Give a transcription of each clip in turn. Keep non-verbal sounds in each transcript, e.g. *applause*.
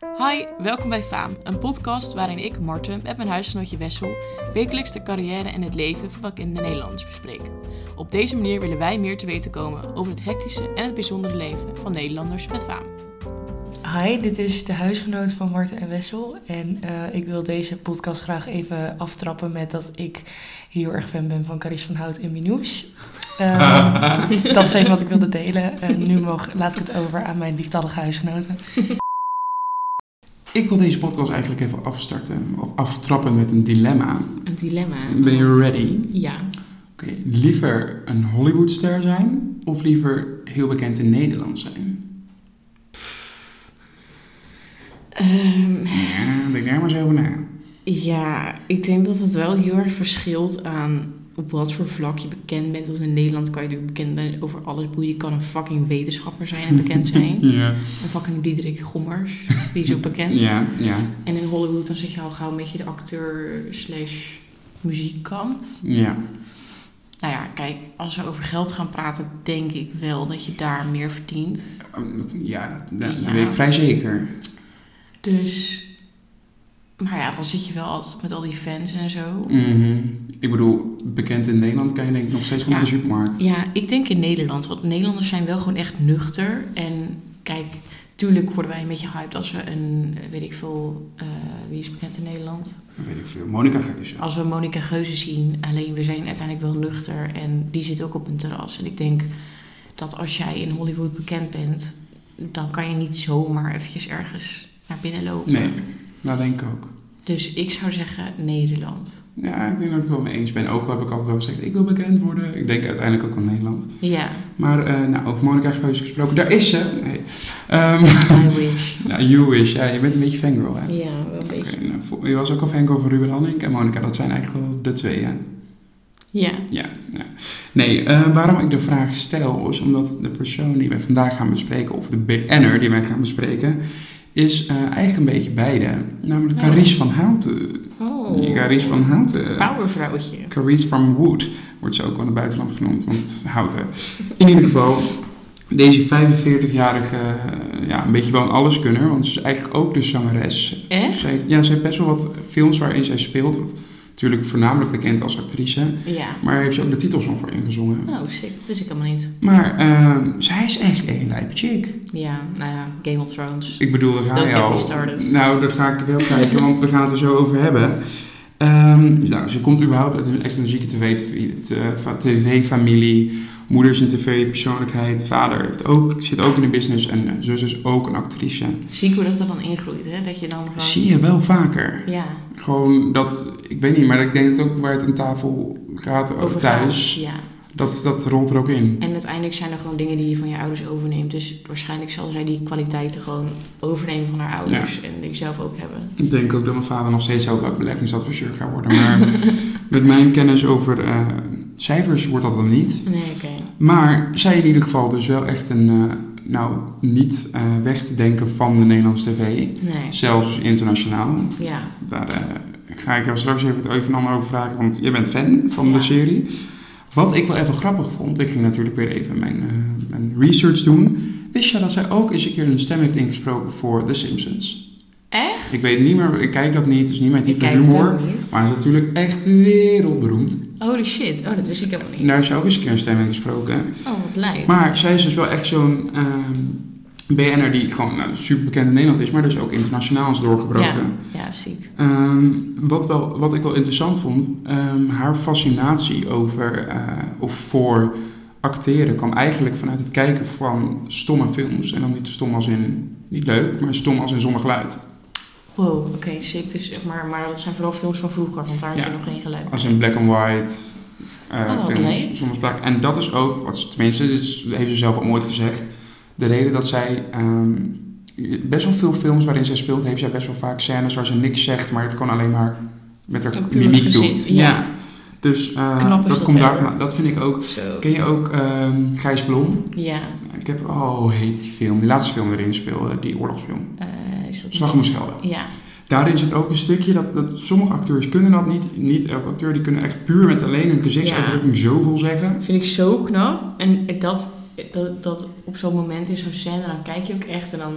Hi, welkom bij Faam, een podcast waarin ik, Marten, met mijn huisgenootje Wessel wekelijks de carrière en het leven van bekende Nederlanders bespreek. Op deze manier willen wij meer te weten komen over het hectische en het bijzondere leven van Nederlanders met faam. Hi, dit is de huisgenoot van Marten en Wessel. En eh, ik wil deze podcast graag even aftrappen met dat ik heel erg fan ben van Caries van Hout en Minouche. *laughs* Ehm, dat is even wat ik wilde delen. En nu mag, laat ik het over aan mijn lieftallige huisgenoten. Ik wil deze podcast eigenlijk even afstarten, of aftrappen met een dilemma. Een dilemma. Ben je ready? Ja. Oké, liever een Hollywoodster zijn of liever heel bekend in Nederland zijn? Ja, denk daar maar eens over na. Ehm, ja, ik denk dat het wel heel erg verschilt aan op wat voor vlak je bekend bent. Want in Nederland kan je natuurlijk bekend zijn over alles boeien. Je kan een fucking wetenschapper zijn en bekend *laughs* zijn. *laughs* Ja. Een fucking Diederik Gommers, die is ook bekend. Ja, ja, En in Hollywood dan zit je al gauw een beetje de acteur slash muziekkant. ja. Nou ja, kijk, als we over geld gaan praten, denk ik wel dat je daar meer verdient. Ja, dat, dat- dat Ja. weet ik vrij zeker. Dus, maar ja, dan zit je wel altijd met al die fans en zo. Mhm. Ik bedoel, bekend in Nederland kan je denk ik nog steeds gewoon Ja. naar de supermarkt. Ja, ik denk in Nederland, want Nederlanders zijn wel gewoon echt nuchter. En kijk, tuurlijk worden wij een beetje hyped als we een, eh, weet ik veel, eh, wie is bekend in Nederland? Dat weet ik veel. Monica dus Geuze. Als we Monica Geuze zien, alleen we zijn uiteindelijk wel nuchter en die zit ook op een terras. En ik denk dat als jij in Hollywood bekend bent, dan kan je niet zomaar eventjes ergens naar binnen lopen. Nee, dat denk ik ook. Dus ik zou zeggen Nederland. Ja, ik denk dat ik het wel mee eens ben. Ook al heb ik altijd wel gezegd, ik wil bekend worden. Ik denk uiteindelijk ook aan Nederland. Ja, Maar eh, nou, over Monica Geuze gesproken, daar is ze. Nee. Ehm, *laughs* *laughs* I wish. nou, you wish. Ja, je bent een beetje fangirl, hè? Ja, wel een Oké, beetje. nou, vo- je was ook al fangirl van Ruben Anning en Monica. Dat zijn eigenlijk wel de twee, hè? Ja. Ja, ja. Nee, eh, waarom ik de vraag stel is omdat de persoon die wij vandaag gaan bespreken, of de BN'er die wij gaan bespreken, is eh, eigenlijk een beetje beide. Namelijk Ja. Carice van Houten. Oh. Carice van Houten. Powervrouwtje. Carice from Wood wordt ze ook wel in het buitenland genoemd, want houten. In ieder geval, deze 45-jarige, eh, ja, een beetje wel een alleskunner, want ze is eigenlijk ook de zangeres. Ze Echt? heeft, ja, ze heeft best wel wat films waarin zij speelt, want natuurlijk voornamelijk bekend als actrice, Ja. maar heeft ze ook de titelsong voor ingezongen. Oh, sick. Dat is ik helemaal niet. Maar ehm, zij is echt een lijpe chick. Ja, nou ja, Game of Thrones. Ik bedoel, daar ga Don't je get me al. started. Nou, dat ga ik er wel krijgen, want we gaan het er zo over hebben. Ehm, nou, ze komt überhaupt uit een echt een zieke tv- te- va- tv-familie. Moeder is een tv-persoonlijkheid. Vader heeft ook, zit ook in de business. En eh, zus is ook een actrice. Zie ik hoe dat er dan ingroeit, hè? Dat je dan gewoon... Zie je wel vaker. Ja. Gewoon dat, ik weet niet, maar ik denk dat ook waar het aan tafel gaat over thuis. thuis, Ja. dat, dat rolt er ook in. En uiteindelijk zijn er gewoon dingen die je van je ouders overneemt. Dus waarschijnlijk zal zij die kwaliteiten gewoon overnemen van haar ouders. En die zelf ook hebben. Ik denk ook dat mijn vader nog steeds heel leuk beleggingsadviseur gaat worden. Maar *laughs* met mijn kennis over eh, cijfers wordt dat dan niet. Nee, oké. Maar zij in ieder geval dus wel echt een, eh, nou, niet eh, weg te denken van de Nederlandse tv. Nee. Zelfs internationaal. Ja. Daar eh, ga ik jou straks even het een en ander over vragen, want jij bent fan van Ja. de serie. Wat ik wel even grappig vond, ik ging natuurlijk weer even mijn, eh, mijn research doen. Wist je dat zij ook eens een keer een stem heeft ingesproken voor The Simpsons? Echt? Ik weet niet meer, ik kijk dat niet, het is niet mijn Ik type kijk het humor. ook niet. Maar ze is natuurlijk echt wereldberoemd. Holy shit. Oh, dat wist ik helemaal niet. Daar is ze ook eens een keer een stem in gesproken. Oh, wat lijp. Maar zij is dus wel echt zo'n ehm, BN'er die gewoon nou, super bekend in Nederland is, maar dus ook internationaal is doorgebroken. ja. ja, ziek. Ehm, wat, wel, wat ik wel interessant vond, ehm, haar fascinatie over eh, of voor acteren kwam eigenlijk vanuit het kijken van stomme films. En dan niet stom als in niet leuk, maar stom als in zonder geluid. Wow, oké, sick. Dus, zeg maar, maar dat zijn vooral films van vroeger, want daar heb je Ja. Oh. nog geen geluid. Als in black and white. eh, Oh, wat films, leuk. soms black. En dat is ook, wat ze, tenminste, dit is- heeft ze zelf al ooit gezegd. De reden dat zij ehm, best wel veel films waarin zij speelt, heeft zij best wel vaak scènes waar ze niks zegt, maar het kan alleen maar met haar Een puur mimiek doen. gezicht, ja. Dus eh, Knap is dat dat komt verder. daarvan. Dat vind ik ook. Zo. Ken je ook ehm Gijs Blom? Ja. Ik heb, oh, hoe heet die film? Die laatste film erin speelde, die oorlogsfilm. eh, is dat... Slag om Schelde. Ja. Daarin zit ook een stukje dat, dat sommige acteurs kunnen dat niet. Niet elke acteur, die kunnen echt puur met alleen hun gezichtsuitdrukking zoveel zeggen. vind ik zo knap. En dat, dat, dat op zo'n moment in zo'n scène, dan kijk je ook echt en dan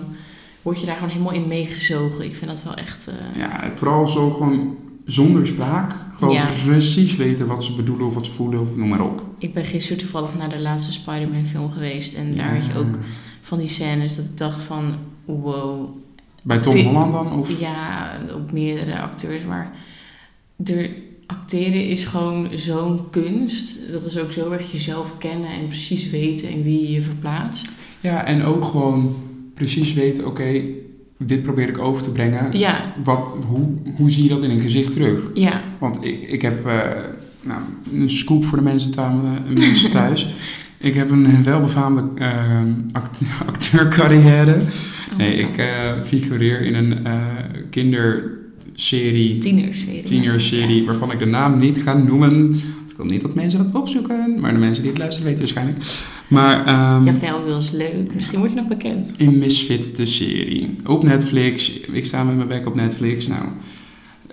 word je daar gewoon helemaal in meegezogen. Ik vind dat wel echt... eh, Ja, vooral zo gewoon zonder spraak. Gewoon Ja. precies weten wat ze bedoelen of wat ze voelen of noem maar op. Ik ben gisteren toevallig naar de laatste Spider-Man film geweest. En daar had je Ja. ook van die scènes dat ik dacht van... Wow, Bij Tom Tim- Holland dan? Of? Ja, op meerdere acteurs, maar er, acteren is gewoon zo'n kunst. Dat is ook zo erg jezelf kennen en precies weten in wie je je verplaatst. Ja, en ook gewoon precies weten, oké, dit probeer ik over te brengen. Ja, Wat, hoe, hoe zie je dat in een gezicht terug? ja, Want ik, ik heb eh, nou, een scoop voor de mensen thuis. mensen thuis. *laughs* ik heb een welbefaamde eh, act- *laughs* acteurcarrière. Oh nee, my ik God. eh, figureer in een eh, kinderserie, tieners. weet ik. tienerserie, waarvan ik de naam niet ga noemen. Want ik wil niet dat mensen dat opzoeken, maar de mensen die het luisteren weten waarschijnlijk. Maar ehm, Ja, Javel is leuk. Misschien word je nog bekend. in Misfit de serie. Op Netflix. Ik sta met mijn bek op Netflix. Nou,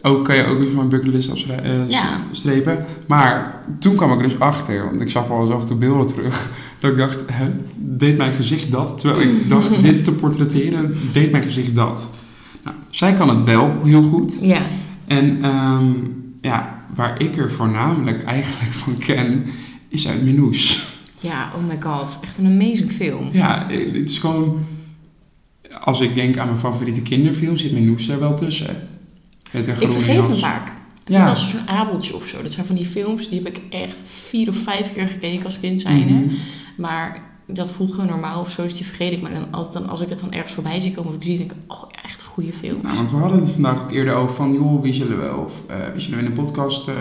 ook kan je ook weer van mijn bucketlist afstre- eh, Ja. strepen. Maar toen kwam ik er dus achter, want ik zag wel eens af en toe beelden terug. *laughs* Dat ik dacht, hè, deed mijn gezicht dat? Terwijl ik dacht dit te portretteren, deed mijn gezicht dat. Nou, zij kan het wel heel goed. Ja, En ehm, ja, waar ik er voornamelijk eigenlijk van ken, is uit Minoes. ja, oh my god. Echt een amazing film. Ja, eh, het is gewoon... Als ik denk aan mijn favoriete kinderfilm, zit mijn noes daar wel tussen. Met een Ik groene vergeet hem jas. vaak. Ja. Net als zo'n abeltje of zo. Dat zijn van die films die heb ik echt vier of vijf keer gekeken als kind zijnde. Mhm. Maar dat voelt gewoon normaal of zo, dus die vergeet ik. Maar dan, als, dan, als ik het dan ergens voorbij zie komen of ik zie, denk ik, oh ja, echt een goede film. Nou, want we hadden het vandaag ook eerder over van, joh, wie zullen we, of, eh, wie zullen we in een podcast, eh,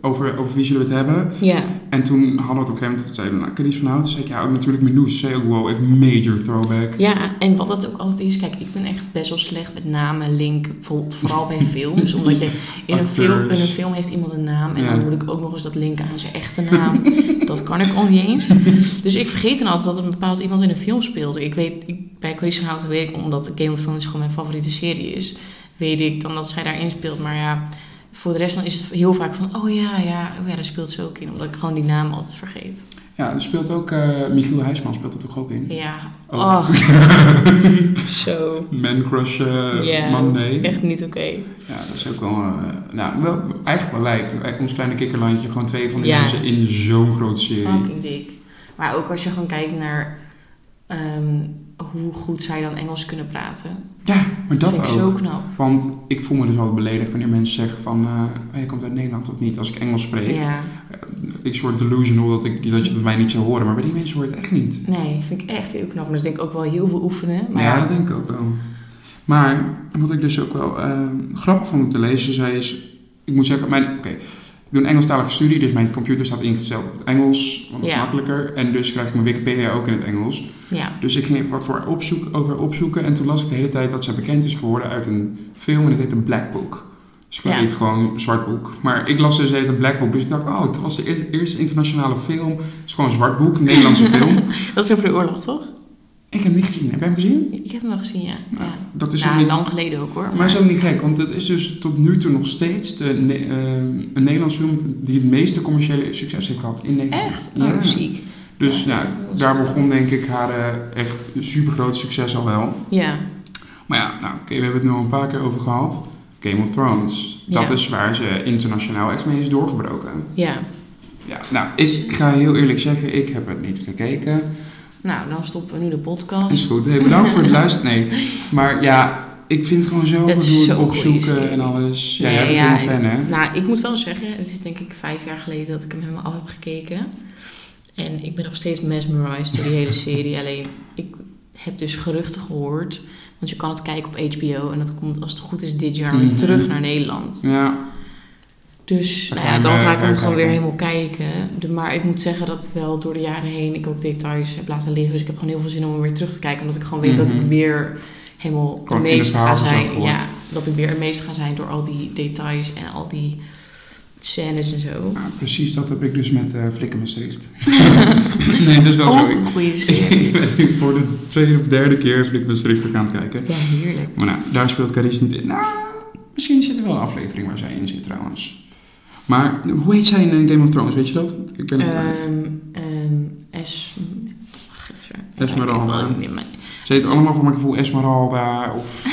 over, over wie zullen we het hebben? Ja, En toen hadden we het op een gegeven moment, zeiden we, nou, Chris van Hout, zei ik, ja, ook natuurlijk mijn noes. Zei ook, wow, echt major throwback. ja, en wat het ook altijd is, kijk, ik ben echt best wel slecht met namen, linken, bijvoorbeeld vooral *laughs* bij films. Omdat je in een, film, in Acteurs. een film heeft iemand een naam en Ja. dan moet ik ook nog eens dat linken aan zijn echte *laughs* naam. dat kan ik al niet eens. Dus ik vergeet dan altijd dat een bepaald iemand in een film speelt. Ik weet, ik, bij Chris van Houten weet ik, omdat Game of Thrones gewoon mijn favoriete serie is, weet ik dan dat zij daarin speelt. Maar ja, voor de rest dan is het heel vaak van, oh ja, ja, oh ja, daar speelt ze ook in. Omdat ik gewoon die naam altijd vergeet. Ja, er speelt ook, eh, Michiel Huisman speelt dat toch ook in? Ja, Oh. oh. Zo. *laughs* Man Crush eh, ja, Man dat is *laughs* Nee. echt niet oké. Ja, dat is ook wel, eh, nou, wel, eigenlijk wel lijp. Ons kleine kikkerlandje, gewoon twee van die Ja. mensen in zo'n grote serie. Fucking dik. Maar ook als je gewoon kijkt naar ehm, hoe goed zij dan Engels kunnen praten. Ja, maar dat, vind ook. ik zo knap. Want ik voel me dus altijd beledigd wanneer mensen zeggen van... eh hey, je komt uit Nederland of niet, als ik Engels spreek. Ja, Ik soort delusional dat, ik, dat je bij mij niet zou horen. Maar bij die mensen hoort het echt niet. nee, vind ik echt heel knap. Maar dat denk ik ook wel heel veel oefenen. Maar Maar ja, dat denk ik ook wel. Maar wat ik dus ook wel eh, grappig vond om te lezen, zij is... Ik moet zeggen, mijn... Oké, ik doe een Engelstalige studie, dus mijn computer staat ingesteld op het Engels. Want dat is Ja. makkelijker. En dus krijg ik mijn Wikipedia ook in het Engels. ja. Dus ik ging even wat voor haar opzoek, over haar opzoeken. En toen las ik de hele tijd dat zij bekend is geworden uit een film. En het heet een Black Book. Dus ik Ja. weet gewoon een zwart boek. Maar ik las dus de hele tijd Black Book. Dus ik dacht, oh, het was de eer- eerste internationale film. Het is gewoon een zwart boek, *laughs* een Nederlandse film. dat is over de oorlog, toch? Ik heb hem niet gezien. Heb jij hem gezien? Ik heb hem wel gezien, ja. ja. Nou, dat is ook Nou, niet- lang geleden ook hoor. Maar is ook niet gek, want het is dus tot nu toe nog steeds de, ne- eh, een Nederlands film die het meeste commerciële succes heeft gehad in Nederland. Echt? Oh, Ja. ziek. Dus Ja, nou, dat was daar het. begon denk ik haar eh, echt supergroot succes al wel. Ja, Maar ja, nou, oké, we hebben het nu al een paar keer over gehad. Game of Thrones. Dat Ja. is waar ze internationaal echt mee is doorgebroken. ja. Ja, nou, ik ga heel eerlijk zeggen, ik heb het niet gekeken. Nou, dan stoppen we nu de Is podcast. goed. Hey, *laughs* bedankt voor het luisteren. Nee, maar ja, ik vind gewoon zo Het is gedoe het zo'n goeie serie. opzoeken en alles. Ja, jij bent ja, helemaal fan, hè? Nou, ik moet wel zeggen, het is denk ik vijf jaar geleden dat ik hem helemaal af heb gekeken. En ik ben nog steeds mesmerized door die hele serie. Alleen, ik heb dus geruchten gehoord. Want je kan het kijken op HBO. En dat komt als het goed is dit jaar weer Mhm. terug naar Nederland. Ja, Dus Dan nou ga ja, je dan hem, ga ik eh, hem gewoon weer kijken. helemaal kijken. De- maar ik moet zeggen dat wel door de jaren heen ik ook details heb laten liggen. Dus ik heb gewoon heel veel zin om hem weer terug te kijken. Omdat ik gewoon weet dat Mhm. ik weer helemaal Gewoon in het meest ga verhaal vanzelf zijn. wordt. Ja, dat ik weer meest ga zijn door al die details en al die scènes en zo. nou, precies dat heb ik dus met eh *laughs* Flikker Maastricht. nee, het is wel zo. Oh, Ik, *laughs* goede serie. ik ben nu voor de tweede of derde keer Flikker Maastricht ook aan het kijken. Ja, heerlijk. Maar nou, daar speelt Carice niet in. Nou, misschien zit er wel een aflevering waar zij in zit trouwens. Maar hoe heet zij in eh, Game of Thrones, weet je dat? Ik Eh, ben het kwijt. Ehm, ehm, Es... Esmeralda. Esmeralda. Ze Ze heet allemaal voor mijn gevoel Esmeralda *laughs* of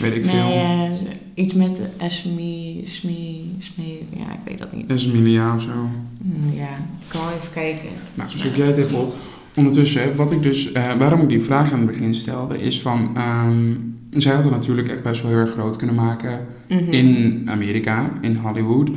weet ik veel. Nee, eh, iets met Esmi, Smi, Smi, ja, ik weet dat niet. Esmilia of zo. Hm, Ja, ik kan wel even kijken. Nou, zo zoek jij het even op. Ondertussen, wat ik dus, eh, waarom ik die vraag aan het begin stelde, is van, ehm, zij hadden natuurlijk echt best wel heel erg groot kunnen maken Mhm. in Amerika, in Hollywood.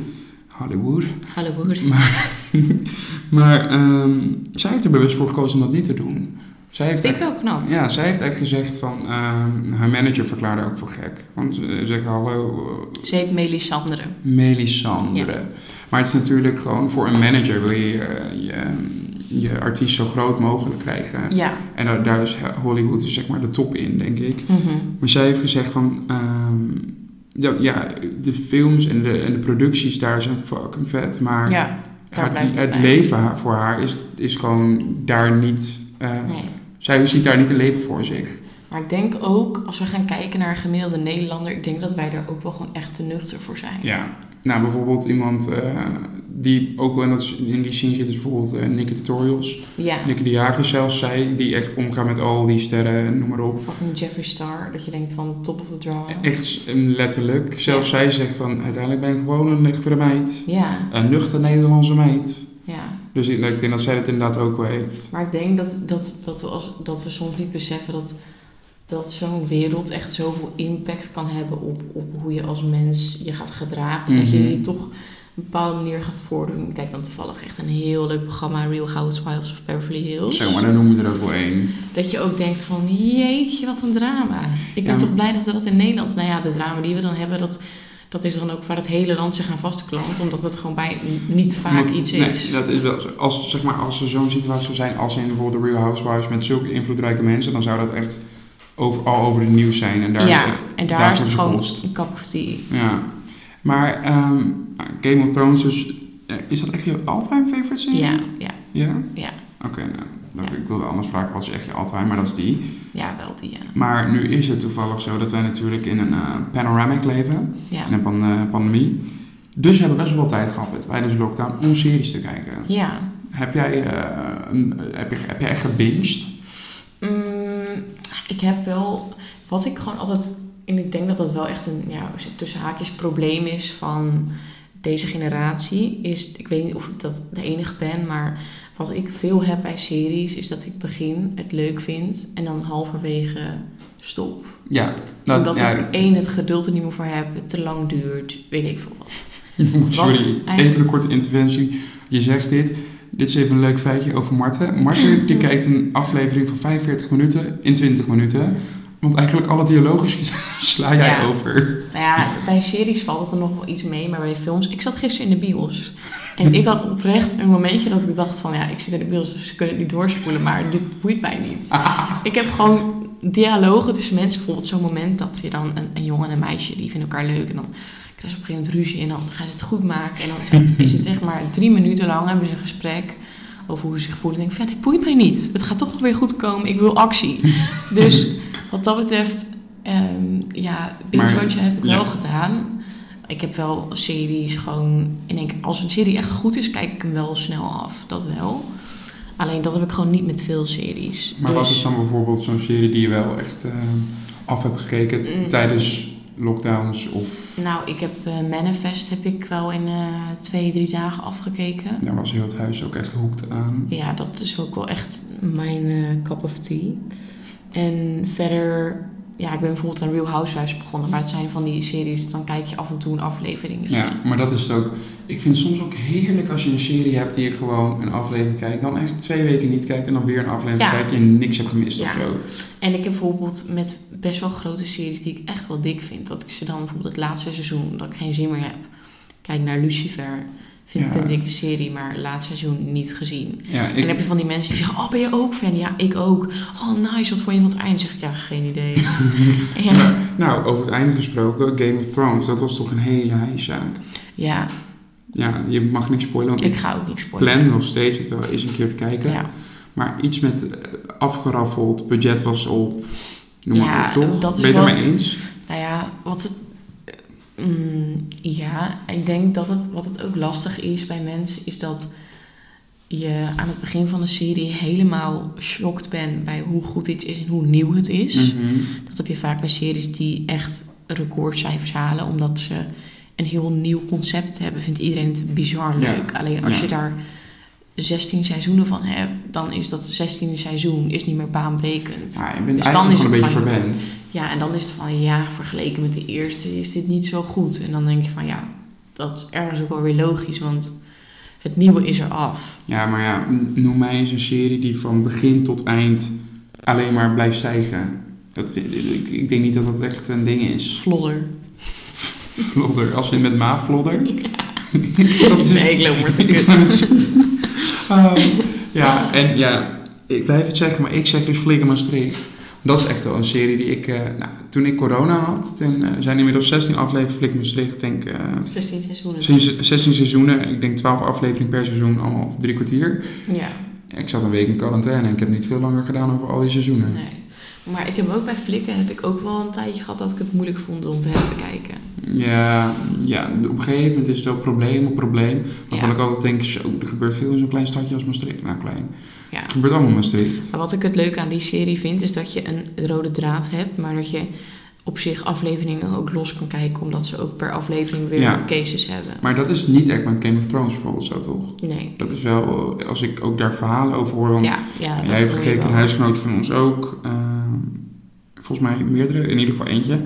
Hollywood. Hallo broer. Maar, *laughs* maar ehm, zij heeft er bewust voor gekozen om dat niet te doen. Zij heeft Vind echt- ik wel knap. Ja, zij heeft echt gezegd van, ehm, haar manager verklaarde ook voor gek. Want ze zeggen, hallo, eh, Ze heet Melisandre. Melisandre. Maar het is natuurlijk gewoon, voor een manager wil je eh, je, je artiest zo groot mogelijk krijgen. Ja. En daar, daar is Hollywood is zeg maar de top in, denk ik. Mhm. Maar zij heeft gezegd van... ehm, ja, ja, de films en de, en de producties daar zijn fucking vet. Maar Ja, daar haar- blijft het het bij. leven ha- voor haar is, is gewoon daar niet... eh, nee. Zij ziet daar niet een leven voor zich. Maar ik denk ook, als we gaan kijken naar een gemiddelde Nederlander, ik denk dat wij daar ook wel gewoon echt te nuchter voor zijn. Ja. Nou, bijvoorbeeld iemand eh, die ook wel in, dat, in die scene zit... is bijvoorbeeld eh Nicky Tutorials. Ja. Nicky de Jager zelfs, zij die echt omgaat met al die sterren en noem maar op. Fucking Jeffree Star, dat je denkt van top of the drama. Echt eh, letterlijk. Zelfs zij zegt van... uiteindelijk ben ik gewoon een nuchtere meid. Ja, Een nuchter Nederlandse meid. ja. Dus ik, ik denk dat zij dat inderdaad ook wel heeft. Maar ik denk dat, dat, dat, we, als, dat we soms niet beseffen dat, dat zo'n wereld echt zoveel impact kan hebben op, op hoe je als mens je gaat gedragen. Of dat je Mhm. je toch een bepaalde manier gaat voordoen. Ik kijk dan toevallig echt een heel leuk programma, Real Housewives of Beverly Hills. Zo, maar dan noemen we er ook wel één. Dat je ook denkt van, jeetje, wat een drama. Ik ben Ja. toch blij dat we dat in Nederland... Nou ja, de drama die we dan hebben, dat, dat is dan ook waar het hele land zich aan vastklampt. Omdat het gewoon bij, niet vaak Want- iets nee, is. dat is wel zo. Als, zeg maar, als er zo'n situatie zou zijn als in bijvoorbeeld The Real Housewives met zulke invloedrijke mensen, dan zou dat echt over, al over het nieuws zijn. En daar ja, is echt en daar is dagelijkse het gewoon kost. een cup of tea. Ja. Maar ehm, nou, Game of Thrones, dus, eh, is dat echt je all-time favorite serie? Ja, ja, Ja? ja. Oké, nou, dan, Ja. ik wilde anders vragen wat is echt je all-time, maar dat is die. Ja, wel die, eh, ja. Maar nu is het toevallig zo dat wij natuurlijk in een eh, panoramic leven. Ja, en een pan- eh, pandemie. Dus we hebben best wel wat tijd gehad tijdens de lockdown om series te kijken. ja. Heb jij, eh, een- heb je, heb jij echt gebinged? Mm, ik heb wel... Wat ik gewoon altijd... En ik denk dat dat wel echt een ja, tussen haakjes probleem is van deze generatie. Is, ik weet niet of ik dat de enige ben, maar wat ik veel heb bij series is dat ik begin, het leuk vind en dan halverwege stop. Ja. Nou, Omdat *laughs* ja, ik één, het geduld er niet meer voor heb, het te lang duurt, weet ik veel wat. Sorry, Wat? even een korte interventie. Je zegt dit. Dit is even een leuk feitje over Marten. *laughs* Marten die kijkt een aflevering van 45 minuten in 20 minuten. Want eigenlijk alle dialogisch *laughs* sla jij Ja. over. Nou ja, bij series valt het er nog wel iets mee, maar bij films... Ik zat gisteren in de bios. En ik had oprecht een momentje dat ik dacht van... Ja, ik zit in de bios, dus ze kunnen het niet doorspoelen, maar dit boeit mij niet. Ik heb gewoon dialogen tussen mensen. Bijvoorbeeld zo'n moment dat je dan een, een jongen en een meisje, die vinden elkaar leuk. En dan krijgen ze op een gegeven moment ruzie en dan gaan ze het goed maken. En dan is het zeg maar drie minuten lang hebben ze een gesprek over hoe ze zich voelen. En denk ik van, ja, dit boeit mij niet. Het gaat toch wel weer goed komen. Ik wil actie. Dus wat dat betreft, ehm ja, binge-watchen heb ik ja. wel gedaan. Ik heb wel series gewoon... En denk, als een serie echt goed is, kijk ik hem wel snel af. Dat wel. Alleen dat heb ik gewoon niet met veel series. Maar dus, wat is dan bijvoorbeeld zo'n serie die je wel echt eh, af hebt gekeken Mm. tijdens lockdowns? Of Nou, ik heb eh, Manifest heb ik wel in eh, twee, drie dagen afgekeken. daar was heel het huis ook echt hoekt aan. Ja, dat is ook wel echt mijn eh, cup of tea. En verder, ja, ik ben bijvoorbeeld aan Real Housewives begonnen. Maar het zijn van die series, dan kijk je af en toe een aflevering. Dus Ja, maar dat is het ook. Ik vind het soms ook heerlijk als je een serie hebt die je gewoon een aflevering kijkt, dan echt twee weken niet kijkt en dan weer een aflevering Ja. kijkt en niks hebt gemist of Ja. zo. En ik heb bijvoorbeeld met best wel grote series die ik echt wel dik vind. Dat ik ze dan bijvoorbeeld het laatste seizoen, dat ik geen zin meer heb. Kijk naar Lucifer. Vind ik Ja. een dikke serie, maar het laatste seizoen niet gezien. Ja, En dan ik, heb je van die mensen die zeggen, oh ben je ook fan? Ja, ik ook. Oh nice, wat vond je van het einde? Zeg ik, ja, geen idee. *laughs* ja. Maar, nou, over het einde gesproken, Game of Thrones, dat was toch een hele heisa. ja, Ja, je mag niks spoilen, want ik ik ga ook niks spoilen. plan nog steeds het wel eens een keer te kijken. Ja, Maar iets met eh, afgeraffeld, budget was op, noem maar Ja, op, toch? dat is ben je het wel- ermee eens? nou ja, wat het... eh, mm, ja, ik denk dat het, wat het ook lastig is bij mensen, is dat je aan het begin van de serie helemaal shocked bent bij hoe goed iets is en hoe nieuw het is. Mhm. Dat heb je vaak bij series die echt recordcijfers halen, omdat ze een heel nieuw concept hebben. Vindt iedereen het bizar Ja. leuk. Alleen als Ja. je daar 16 seizoenen van hebt, dan is dat 16e seizoen is niet meer baanbrekend. Ja. Ja, je bent Dus dan eigenlijk is gewoon een het van- beetje verwend. en dan is het van ja, vergeleken met de eerste is dit niet zo goed. En dan denk je van ja, dat is ergens ook wel weer logisch, want het nieuwe is er af. Ja, maar ja, n- noem mij eens een serie die van begin tot eind alleen maar blijft stijgen. Dat, vind- ik, ik denk niet dat dat echt een ding is. *laughs* Vlodder. Vlodder, als we het met ma vlodder. *laughs* dat is- Nee, ik loop maar te Ik kut. *laughs* wou net zeggen. Ehm, ja, en ja, ik blijf het zeggen, maar ik zeg dus Flikker Maastricht. Dat is echt wel een serie die ik, eh, nou, toen ik corona had, toen eh, zijn inmiddels 16 afleveringen Flikker Maastricht, denk ik. 16 seizoenen. Sinds 16 seizoenen, ik denk 12 afleveringen per seizoen, allemaal drie kwartier. Ja. Ik zat een week in quarantaine en ik heb niet veel langer gedaan over al die seizoenen. Nee. Maar ik heb ook bij flikken heb ik ook wel een tijdje gehad dat ik het moeilijk vond om verder te kijken. Ja, ja, op een gegeven moment is het wel probleem op probleem. Waarvan Ja. ik altijd denk, zo, er gebeurt veel in zo'n klein stadje als Maastricht. Nou, klein. Ja. Het gebeurt allemaal in Maastricht. Maar wat ik het leuke aan die serie vind, is dat je een rode draad hebt, maar dat je op zich afleveringen ook los kan kijken, omdat ze ook per aflevering weer Ja. cases hebben. Maar dat is niet echt met Game of Thrones bijvoorbeeld zo, toch? Nee. Dat is wel, eh, als ik ook daar verhalen over hoor, want Ja, ja, dat jij hebt hoor je gekeken, een wel. huisgenoot van ons ook. ehm, volgens mij meerdere, in ieder geval eentje.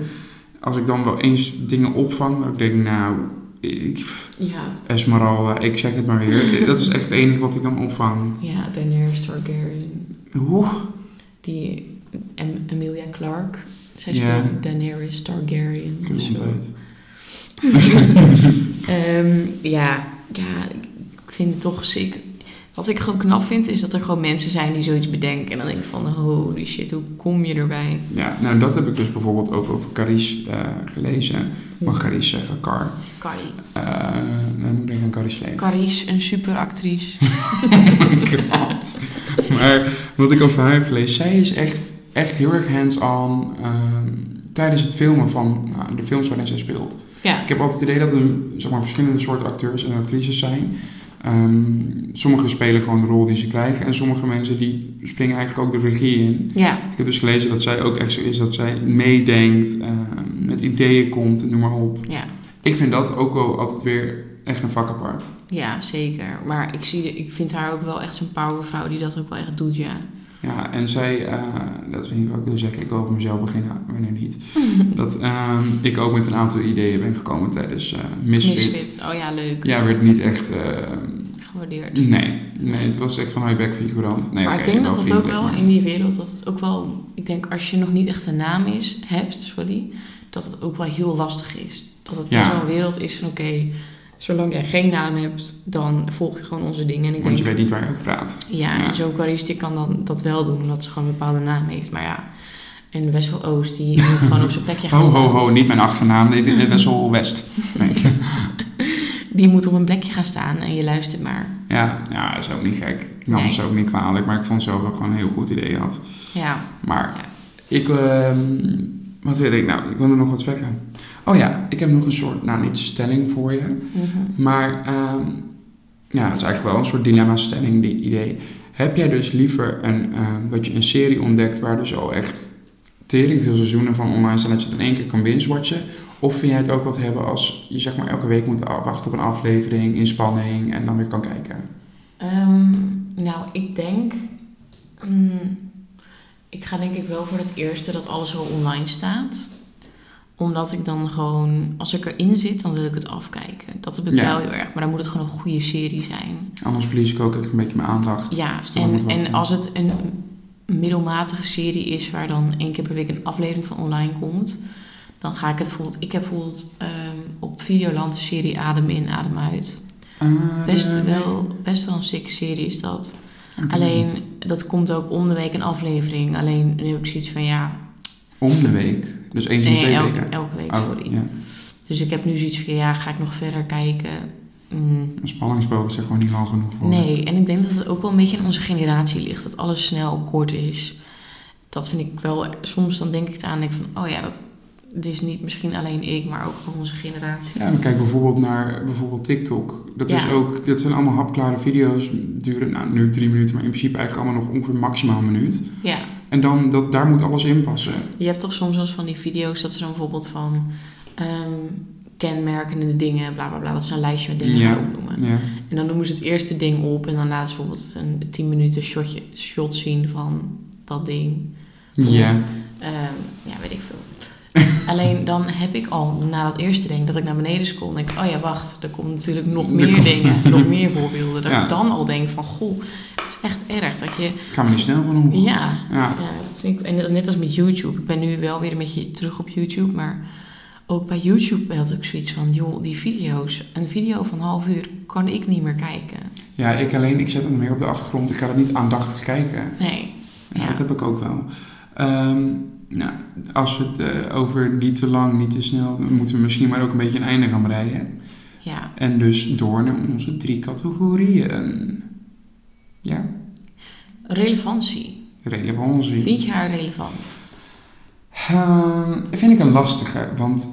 Als ik dan wel eens dingen opvang, dat ik denk, nou, ik, Ja, Esmeralda, ik zeg het maar *laughs* weer. dat is echt het enige wat ik dan opvang. ja, Daenerys Targaryen, Oeh, die Em- Emilia Clarke, zij Ja. speelt Daenerys Targaryen. Zo. gezondheid. Ehm, ja, ja, ik vind het toch sick. Wat ik gewoon knap vind, is dat er gewoon mensen zijn die zoiets bedenken. En dan denk ik van, holy shit, hoe kom je erbij? Ja, nou dat heb ik dus bijvoorbeeld ook over Caris eh, gelezen. Mag Caris zeggen, Car. Carrie. Eh dan moet ik denken aan Caris Slee. *laughs* Carrie is een superactrice. Oh God. maar wat ik over haar heb gelezen, zij is echt, echt heel erg hands-on ehm, tijdens het filmen van nou, de films waarin zij speelt. Ja, Ik heb altijd het idee dat er zeg maar, verschillende soorten acteurs en actrices zijn. Ehm, sommigen spelen gewoon de rol die ze krijgen en sommige mensen die springen eigenlijk ook de regie in. ja, Ik heb dus gelezen dat zij ook echt zo is dat zij meedenkt, ehm, met ideeën komt, noem maar op. ja, Ik vind dat ook wel altijd weer echt een vak apart. ja, zeker. Maar ik, zie, ik vind haar ook wel echt zo'n powervrouw die dat ook wel echt doet, ja. Ja, en zij, eh, dat vind ik wat ik wil zeggen, ik wil over mezelf beginnen, wanneer *laughs* niet. dat ehm, ik ook met een aantal ideeën ben gekomen tijdens eh Misfit. Misfit. Oh ja, leuk. Ja, werd niet echt, eh, Gewaardeerd. nee, nee, het was echt van, hou je bek figurant. Nee, maar oké, ik denk dat wel dat ook vriendelijk, wel maar- in die wereld, dat het ook wel, ik denk als je nog niet echt een naam is, hebt, sorry, dat het ook wel heel lastig is. Dat het Ja. in zo'n wereld is van oké, zolang jij geen naam hebt, dan volg je gewoon onze dingen. En ik Want je denk, weet niet waar je over praat. ja, Ja. en zo'n karistiek kan dan dat wel doen, omdat ze gewoon een bepaalde naam heeft. Maar ja, en Wessel Oost, die moet gewoon op zijn *laughs* plekje gaan ho, staan. ho, ho, niet mijn achternaam, dit *laughs* is Wessel West. Nee. Die moet op een plekje gaan staan en je luistert maar. Ja, ja, dat is ook niet gek. Ik nam Nee. ze ook niet kwalijk, maar ik vond zelf ook gewoon een heel goed idee had. Ja, Maar Ja. ik, ehm, wat wil ik nou? Ik wil er nog wat zeggen. Oh ja, ik heb nog een soort, nou niet stelling voor je, mhm. maar ehm, ja, het is eigenlijk wel een soort dilemma-stelling, die idee. Heb jij dus liever een, ehm, dat je een serie ontdekt waar dus al echt tering veel seizoenen van online zijn, dat je het in één keer kan binge-watchen? Of vind jij het ook wat hebben als je zeg maar elke week moet wachten op een aflevering, inspanning en dan weer kan kijken? Ehm, nou, ik denk. mm, ik ga denk ik wel voor het eerste dat alles al online staat. Omdat ik dan gewoon, als ik erin zit, dan wil ik het afkijken. Dat heb ik Ja. wel heel erg. Maar dan moet het gewoon een goede serie zijn. Anders verlies ik ook echt een beetje mijn aandacht. Dus Ja, is toch en, wat en wachten. als het een middelmatige serie is waar dan één keer per week een aflevering van online komt. Dan ga ik het bijvoorbeeld. Ik heb bijvoorbeeld ehm, op Videoland de serie Adem in, Adem uit. Ah, Best eh, wel, best wel een sick serie is dat. ik weet Alleen, het niet. dat komt ook om de week een aflevering. Alleen nu heb ik zoiets van ja, Om de week. Dus eens in de nee, twee elke, weken. elke week, Oh, sorry. ja. Dus ik heb nu zoiets van ja, ga ik nog verder kijken? Mm, Een spanningsboog is er gewoon niet lang genoeg voor. nee, en ik denk dat het ook wel een beetje aan onze generatie ligt. Dat alles snel kort is. Dat vind ik wel, soms dan denk ik het aan en denk ik van oh ja, dat, Dus niet misschien alleen ik, maar ook gewoon onze generatie. Ja, maar kijk bijvoorbeeld naar bijvoorbeeld TikTok. Dat, is Ja. ook, dat zijn allemaal hapklare video's. Duren nou, nu drie minuten, maar in principe eigenlijk allemaal nog ongeveer maximaal een minuut. Ja. En dan, dat, daar moet alles in passen. Je hebt toch soms wel eens van die video's dat ze dan bijvoorbeeld van ehm, kenmerkende dingen, bla bla bla, dat ze een lijstje met dingen Ja. gaan opnoemen. Ja. En dan noemen ze het eerste ding op en dan laten ze bijvoorbeeld een 10 minuten shotje, shot zien van dat ding. Ja. Ehm, ja, weet ik *laughs* veel. Alleen dan heb ik al na dat eerste ding dat ik naar beneden scroll en denk, oh ja, wacht, er komt natuurlijk nog Er meer komt- *laughs* dingen, nog meer voorbeelden. Dat Ja. ik dan al denk van, goh, het is echt erg dat je, Het gaat me niet snel van omhoog. ja, Ja. ja, dat vind ik. En net als met YouTube. Ik ben nu wel weer een beetje terug op YouTube. Maar ook bij YouTube had ik zoiets van: joh, die video's. Een video van een half uur kan ik niet meer kijken. Ja, ik alleen, ik zet het meer op de achtergrond. Ik ga dat niet aandachtig kijken. Nee. Ja, Ja. Dat heb ik ook wel. Ehm, nou, als we het eh, over niet te lang, niet te snel, dan moeten we misschien maar ook een beetje een einde gaan breien. Ja. En dus door naar onze drie categorieën. Ja, Relevantie. relevantie. Vind je haar relevant? Ehm, vind ik een lastige, want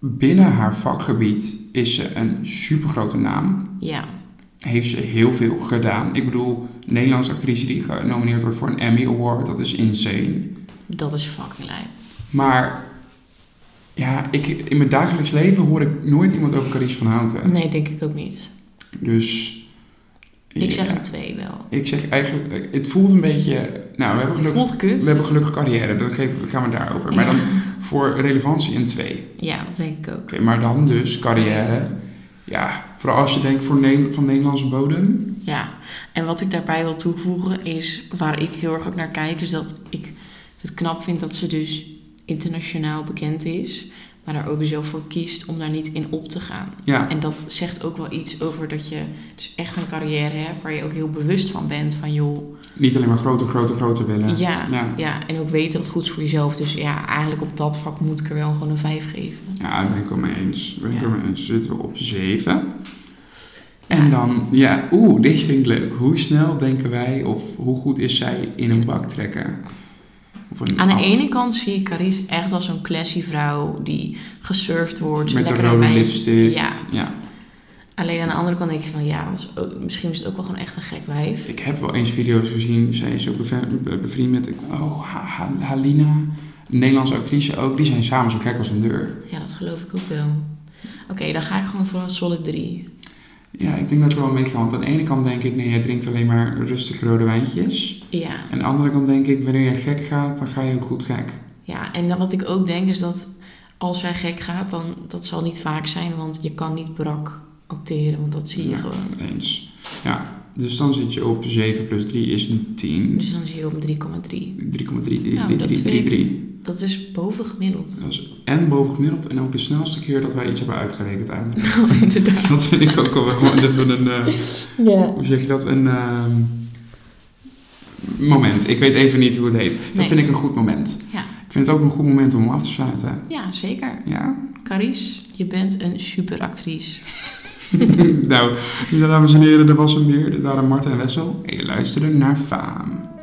binnen haar vakgebied is ze een supergrote naam. Ja. Heeft ze heel veel gedaan. Ik bedoel, een Nederlandse actrice die genomineerd wordt voor een Emmy Award, dat is insane. Dat is fucking lijp. Maar ja, ik, in mijn dagelijks leven hoor ik nooit iemand over Carice van Houten. Nee, denk ik ook niet. Dus. Ik zeg ja, een twee wel. ik zeg eigenlijk, eh, het voelt een beetje. Nou, we hebben Het gelukkig, voelt we kut. hebben gelukkig carrière, dan geven- gaan we daarover. Maar Ja. dan voor relevantie een 2. Ja, dat denk ik ook. Oké, maar dan dus carrière. Ja, vooral als je denkt voor Ne- van Nederlandse bodem. Ja, en wat ik daarbij wil toevoegen is waar ik heel erg ook naar kijk, is dat ik het knap vind dat ze dus internationaal bekend is, maar daar ook zelf voor kiest om daar niet in op te gaan. Ja, En dat zegt ook wel iets over dat je dus echt een carrière hebt waar je ook heel bewust van bent van joh, niet alleen maar grote, grote, grote willen. ja, ja. ja. en ook weten wat goed is voor jezelf. Dus ja, eigenlijk op dat vak moet ik er wel gewoon een vijf geven. Ja, daar ben ik wel mee eens. Daar Ben ik Ja. wel mee eens. Zitten we op 7. En dan, ja, oeh, dit vind ik leuk. Hoe snel denken wij of hoe goed is zij in een bak trekken? Of een Aan de ad. ene kant zie ik Carice echt als een classy vrouw die gesurfd wordt. Met een lekker rode erbij. lipstift. Ja. Ja, Alleen aan de andere kant denk je van ja, dat is ook- misschien is het ook wel gewoon echt een gek wijf. Ik heb wel eens video's gezien. Zij is ook beve- be- bevriend met, oh, Ha- Ha- Halina. Een Nederlandse actrice ook. Die zijn samen zo gek als een deur. Ja, dat geloof ik ook wel. Oké, dan ga ik gewoon voor een solid 3. Ja, ik denk dat ik wel meegaan. Want aan de ene kant denk ik, nee, jij drinkt alleen maar rustig rode wijntjes. Ja, En aan de andere kant denk ik, wanneer je gek gaat, dan ga je ook goed gek. ja, en dan wat ik ook denk is dat als zij gek gaat, dan dat zal niet vaak zijn, want je kan niet brak acteren, want dat zie je Ja. gewoon. Eens. Ja, dus dan zit je op 7 plus 3 is een 10. 3,3. Dus dan zie je op een 3,3. Nou, dat vind ik- 3,3. Dat is boven gemiddeld. Dat is en bovengemiddeld en ook de snelste keer dat wij iets hebben uitgerekend eigenlijk. Nou, inderdaad. *laughs* Dat vind ik ook wel *laughs* gewoon even een, eh, Ja. hoe zeg je dat, een ehm, moment. Ik weet even niet hoe het heet. Dat Nee. vind ik een goed moment. Ja. Ik vind het ook een goed moment om af te sluiten. ja, zeker. Ja, *laughs* Carice, je bent een superactrice. nou, dames en heren, dat was hem weer. Dit waren Marten en Wessel. En je luisterde naar Faam.